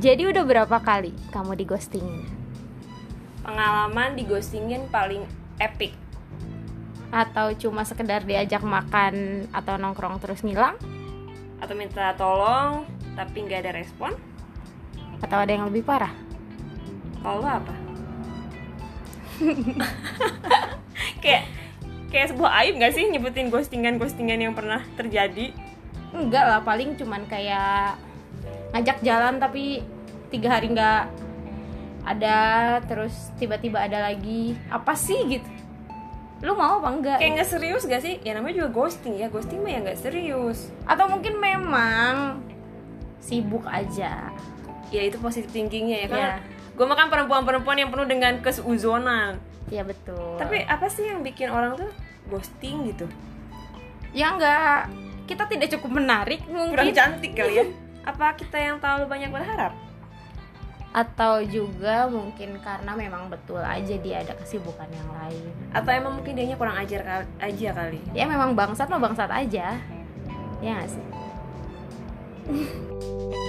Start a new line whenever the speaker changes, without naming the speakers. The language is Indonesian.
Jadi udah berapa kali kamu digostingin?
Pengalaman digostingin paling epic.
Atau cuma sekedar diajak makan atau nongkrong terus ngilang?
Atau minta tolong tapi nggak ada respon?
Atau ada yang lebih parah?
Kalau lo apa? kayak kayak sebuah aib gak sih nyebutin ghostingan-ghostingan yang pernah terjadi?
Enggak lah, paling cuman kayak ngajak jalan tapi tiga hari nggak ada terus tiba-tiba ada lagi apa sih gitu lu mau apa enggak
Kayak nggak serius gak sih? Ya namanya juga ghosting ya, ghosting mah ya nggak serius.
atau mungkin memang sibuk aja
Ya itu positif thinkingnya ya kan.
Iya.
Gue makan perempuan-perempuan yang penuh dengan kesuzonan.
ya betul
Tapi apa sih yang bikin orang tuh ghosting gitu?
ya enggak kita tidak cukup menarik
Kurang
mungkin
cantik kali ya? Apa kita yang terlalu banyak berharap?
atau juga mungkin karena memang betul aja dia ada kesibukan yang lain
Atau emang mungkin dianya kurang ajar kal- aja kali?
ya memang bangsat mah bangsat aja ya nggak sih